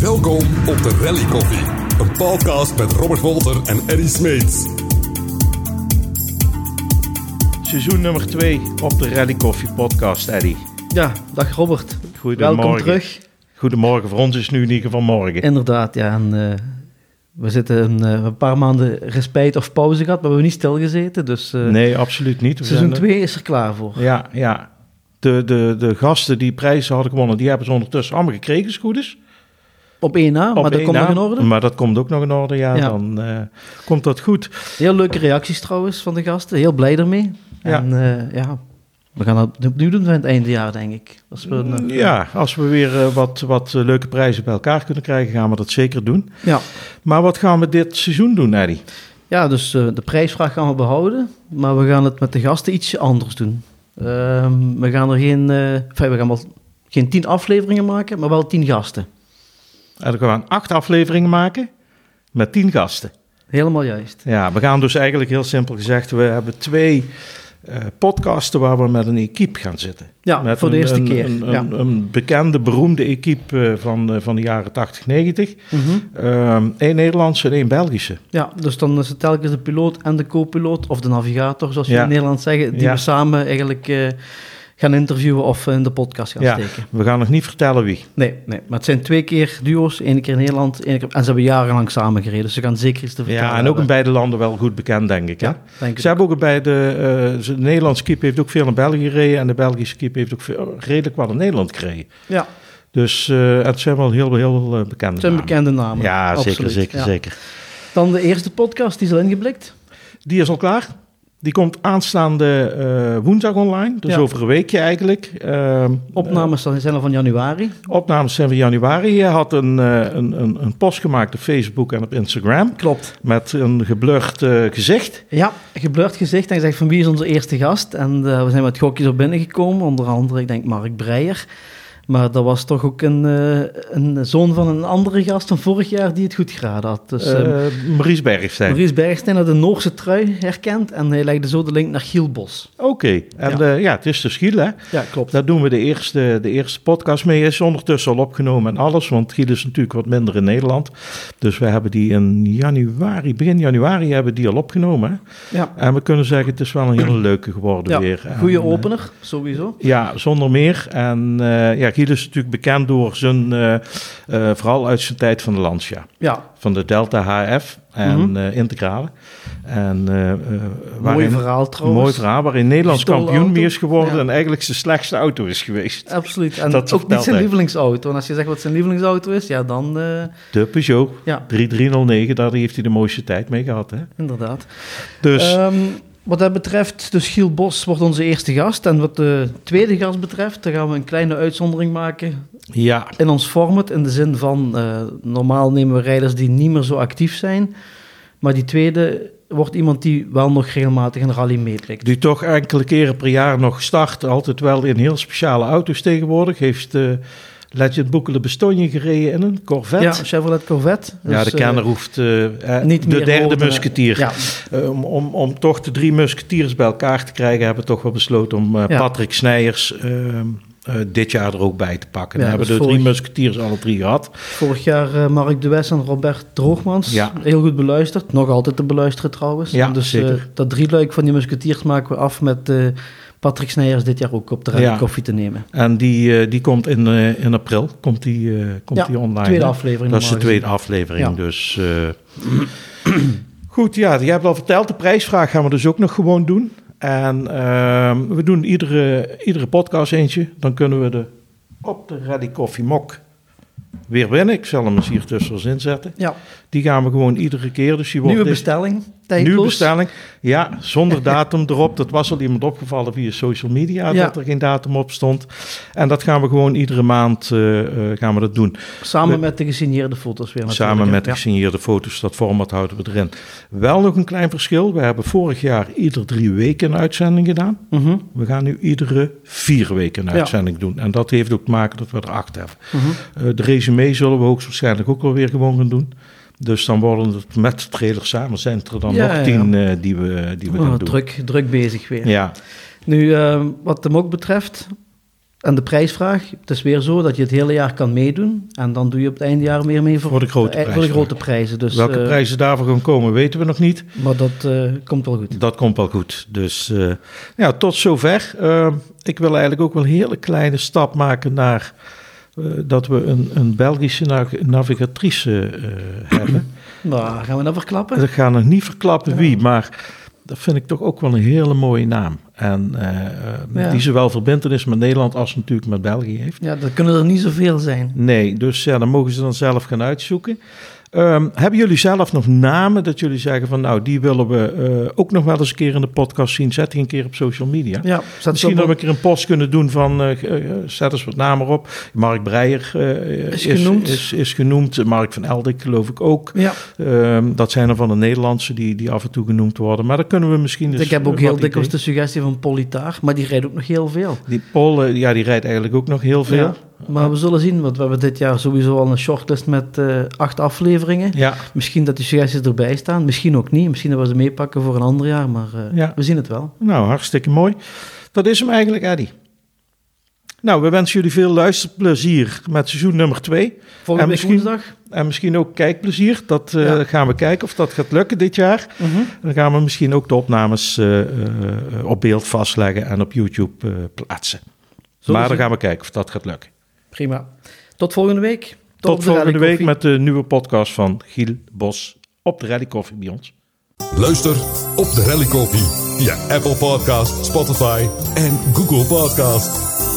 Welkom op de Rally Koffie. Een podcast met Robert Wolter en Eddie Smeets. Seizoen nummer 2 op de Rally Coffee Podcast, Eddy. Ja, dag Robert. Goedemorgen. Welkom terug. Goedemorgen, voor ons is het nu in ieder geval morgen. Inderdaad, ja. En, eh, we zitten een, eh, een paar maanden respijt of pauze gehad, maar we hebben niet stilgezeten. Dus eh, nee, absoluut niet. We seizoen zijn er- 2 is er klaar voor. Ja, ja. De, de, de gasten die prijzen hadden gewonnen, die hebben ze ondertussen allemaal gekregen, als het goed is. Op één na, Op maar dat één komt nog na. in orde. Maar dat komt ook nog in orde, ja. Ja. Dan eh, komt dat goed. Heel leuke reacties trouwens van de gasten. Heel blij ermee. Ja. En eh, ja, we gaan dat opnieuw doen van het einde jaar, denk ik. Als we, een, eh, Ja, als we weer eh, wat, wat eh, leuke prijzen bij elkaar kunnen krijgen, gaan we dat zeker doen. ja. Maar wat gaan we dit seizoen doen, Eddy? Ja, dus eh, de prijsvraag gaan we behouden, maar we gaan het met de gasten ietsje anders doen. Ehm, we gaan er geen, eh, enfin, we gaan wel geen tien afleveringen maken, maar wel tien gasten. Eh, We gaan acht afleveringen maken met tien gasten. Helemaal juist. Ja, we gaan dus eigenlijk heel simpel gezegd, we hebben twee eh, podcasten waar we met een equipe gaan zitten. Ja, Met voor de een- eerste een- keer. Een, ja. een, een bekende, beroemde equipe eh, van, eh, van de jaren 80, 90. Mhm. Eén Nederlandse en één Belgische. ja, dus dan is het telkens de piloot en de co-piloot, of de navigator, zoals we Ja. in Nederland zeggen, die Ja. we samen eigenlijk eh, gaan interviewen of eh, in de podcast gaan Ja. steken. We gaan nog niet vertellen wie. Nee, nee, maar het zijn twee keer duo's, één keer in Nederland, één keer... en ze hebben jarenlang samen gereden, dus ze gaan zeker iets te vertellen Ja, en ook in hebben. beide landen wel goed bekend, denk ik. Hè? Ja, denk Ze ik. hebben ook bij de, eh, ze- de Nederlandse kip heeft ook veel in België gereden en de Belgische kip heeft ook veel, redelijk wat in Nederland gereden. Ja, Dus eh, het zijn wel heel, heel eh, bekende het zijn namen. bekende namen. Ja, zeker, absoluut, zeker, ja. zeker. Dan de eerste podcast, die is al ingeblikt. Die is al klaar. Die komt aanstaande eh, woensdag online. Dus Ja. over een weekje eigenlijk. Ehm, Opnames zijn al van januari. eh, opnames zijn van januari. Je had een, eh, een, een, een post gemaakt op Facebook en op Instagram. Klopt. Met een geblurred eh, gezicht. Ja, geblurred gezicht en gezegd van wie is onze eerste gast. En eh, we zijn met gokjes op binnengekomen. Onder andere, ik denk Mark Breijer. Maar dat was toch ook een, eh, een zoon van een andere gast van vorig jaar die het goed geraden had. Dus eh eh Maurice Bergstein. Maurice Bergstein had de Noorse trui herkend. En hij legde zo de link naar Giel Bos. Oké. En Ja. ja. ja, het is dus Giel hè. Ja, klopt. Daar doen we de eerste, de eerste podcast mee. Is ondertussen al opgenomen en alles. Want Giel is natuurlijk wat minder in Nederland. Dus we hebben die in januari, begin januari hebben we die al opgenomen hè. Ja. En we kunnen zeggen, het is wel een hele leuke geworden Ja, weer. En, Goede eh, opener, sowieso. ja, zonder meer. En eh, ja, Giel is natuurlijk bekend door zijn, eh, eh, vooral uit zijn tijd van de Lancia. Ja, Van de Delta HF en Mhm. eh, Integrale. En, eh, eh, mooi waarin- verhaal trouwens. Mooi verhaal, waarin Nederlands Gestolen kampioen auto. mee is geworden Ja. en eigenlijk zijn slechtste auto is geweest. Absoluut. En Dat ook vertelt niet zijn hij. lievelingsauto. En als je zegt wat zijn lievelingsauto is, ja, dan eh, De Peugeot ja, 3309, daar heeft hij de mooiste tijd mee gehad. Hè? inderdaad. Dus Ehm, wat dat betreft, dus Giel Bos wordt onze eerste gast. En wat de tweede gast betreft, daar gaan we een kleine uitzondering maken ja, in ons format. In de zin van, eh, normaal nemen we rijders die niet meer zo actief zijn. Maar die tweede wordt iemand die wel nog regelmatig een rally meetrekt. Die toch enkele keren per jaar nog start. Altijd wel in heel speciale auto's tegenwoordig. Heeft eh Legend Boekele Bestonje gereden in een Corvette. Ja, Ja, Chevrolet Corvette. Dus, de eh, kenner hoeft eh, eh, niet de meer derde horen te- musketier. Ja, Eh, om, om, om toch de drie musketiers bij elkaar te krijgen, hebben we toch wel besloten om eh, Ja. Patrick Snijers eh, eh, dit jaar er ook bij te pakken. Ja, We hebben dus de drie vorig- musketiers alle drie gehad. Vorig jaar eh, Mark de West en Robert Droogmans. Ja. Heel goed beluisterd. Nog altijd te beluisteren trouwens. Ja, dus zeker. eh, dat drieluik van die musketiers maken we af met eh, Patrick Snijers dit jaar ook op de rij Ja. koffie te nemen. En die, eh, die komt in, eh, in april komt die, eh, komt Ja, die online. tweede hè? aflevering. Dat is de normaal tweede aflevering, Ja. dus... eh, Goed, ja, je hebt al verteld, de prijsvraag gaan we dus ook nog gewoon doen. En ehm, we doen iedere, iedere podcast eentje. Dan kunnen we de op de Ready Coffee Mok weer winnen. Ik zal hem eens hier tussen ons inzetten. gezien. Die gaan we gewoon iedere keer. Dus die Ja. wordt Nieuwe deze- bestelling. Tijdloos. Nieuwe bestelling. Ja, zonder datum erop. Dat was al iemand opgevallen via social media Ja. dat er geen datum op stond. En dat gaan we gewoon iedere maand eh, eh, gaan we dat doen. Samen We- met de gesigneerde foto's weer natuurlijk. Samen met de ja. gesigneerde foto's, dat format houden we erin. Wel nog een klein verschil. We hebben vorig jaar ieder drie weken een uitzending gedaan. Mhm, We gaan nu iedere vier weken een Ja. uitzending doen. En dat heeft ook te maken dat we er acht hebben. mhm. Eh, de resume zullen we hoogstwaarschijnlijk ook alweer gewoon gaan doen. Dus dan worden het met de trailer samen zijn het er dan Ja, nog ja. tien eh, die we, die we Oh, gaan doen. druk, druk bezig weer. Ja, Nu, eh, wat de mok betreft, En de prijsvraag, het is weer zo dat je het hele jaar kan meedoen. En dan doe je op het eindjaar meer mee voor, Voor de grote eh, voor de prijsvraag. grote prijzen. Dus, Welke eh, prijzen daarvoor gaan komen, weten we nog niet. Maar dat eh, komt wel goed. Dat komt wel goed. Dus eh, ja, tot zover. Eh, ik wil eigenlijk ook wel een hele kleine stap maken naar eh, dat we een, een Belgische na- navigatrice eh, hebben. Maar gaan we dat verklappen? Ik ga nog niet verklappen wie, maar dat vind ik toch ook wel een hele mooie naam. En eh, eh, Ja. die zowel verbindenis met Nederland als natuurlijk met België heeft. Ja, dat kunnen er niet zoveel zijn. Nee, dus ja, dan mogen ze dan zelf gaan uitzoeken. Ehm, hebben jullie zelf nog namen dat jullie zeggen van nou, die willen we eh, ook nog wel eens een keer in de podcast zien? Zet die een keer op social media. Ja, zet Misschien ze dat op- we een keer een post kunnen doen van eh, eh, zet eens wat namen op. Mark Breijer eh, Is genoemd. Is, is genoemd. Mark van Eldik geloof ik ook. Ja, Ehm, dat zijn er van de Nederlandse die, die af en toe genoemd worden. Maar dan kunnen we misschien. Dus ik heb ook wat heel idee- dikwijls de suggestie van Politaar, maar die rijdt ook nog heel veel. Die Paul, eh, ja, die rijdt eigenlijk ook nog heel veel. Ja, maar we zullen zien, want we hebben dit jaar sowieso al een shortlist met eh, acht afleveringen. ja. Misschien dat die suggesties erbij staan, misschien ook niet. Misschien dat we ze meepakken voor een ander jaar, maar eh, Ja. we zien het wel. Nou, hartstikke mooi. Dat is hem eigenlijk, Eddy. Nou, we wensen jullie veel luisterplezier met seizoen nummer 2. Volgende week misschien- woensdag. En misschien ook kijkplezier. Dat eh, Ja. gaan we kijken of dat gaat lukken dit jaar. Mhm. En dan gaan we misschien ook de opnames eh, eh, op beeld vastleggen en op YouTube eh, plaatsen. Zullen maar we- dan gaan we kijken of dat gaat lukken. Prima. Tot volgende week. Tot, Tot, op de volgende Rally week Coffee. met de nieuwe podcast van Giel Bos op de Rally Coffee bij ons. Luister op de Rally Koffie via Apple Podcast, Spotify en Google Podcast.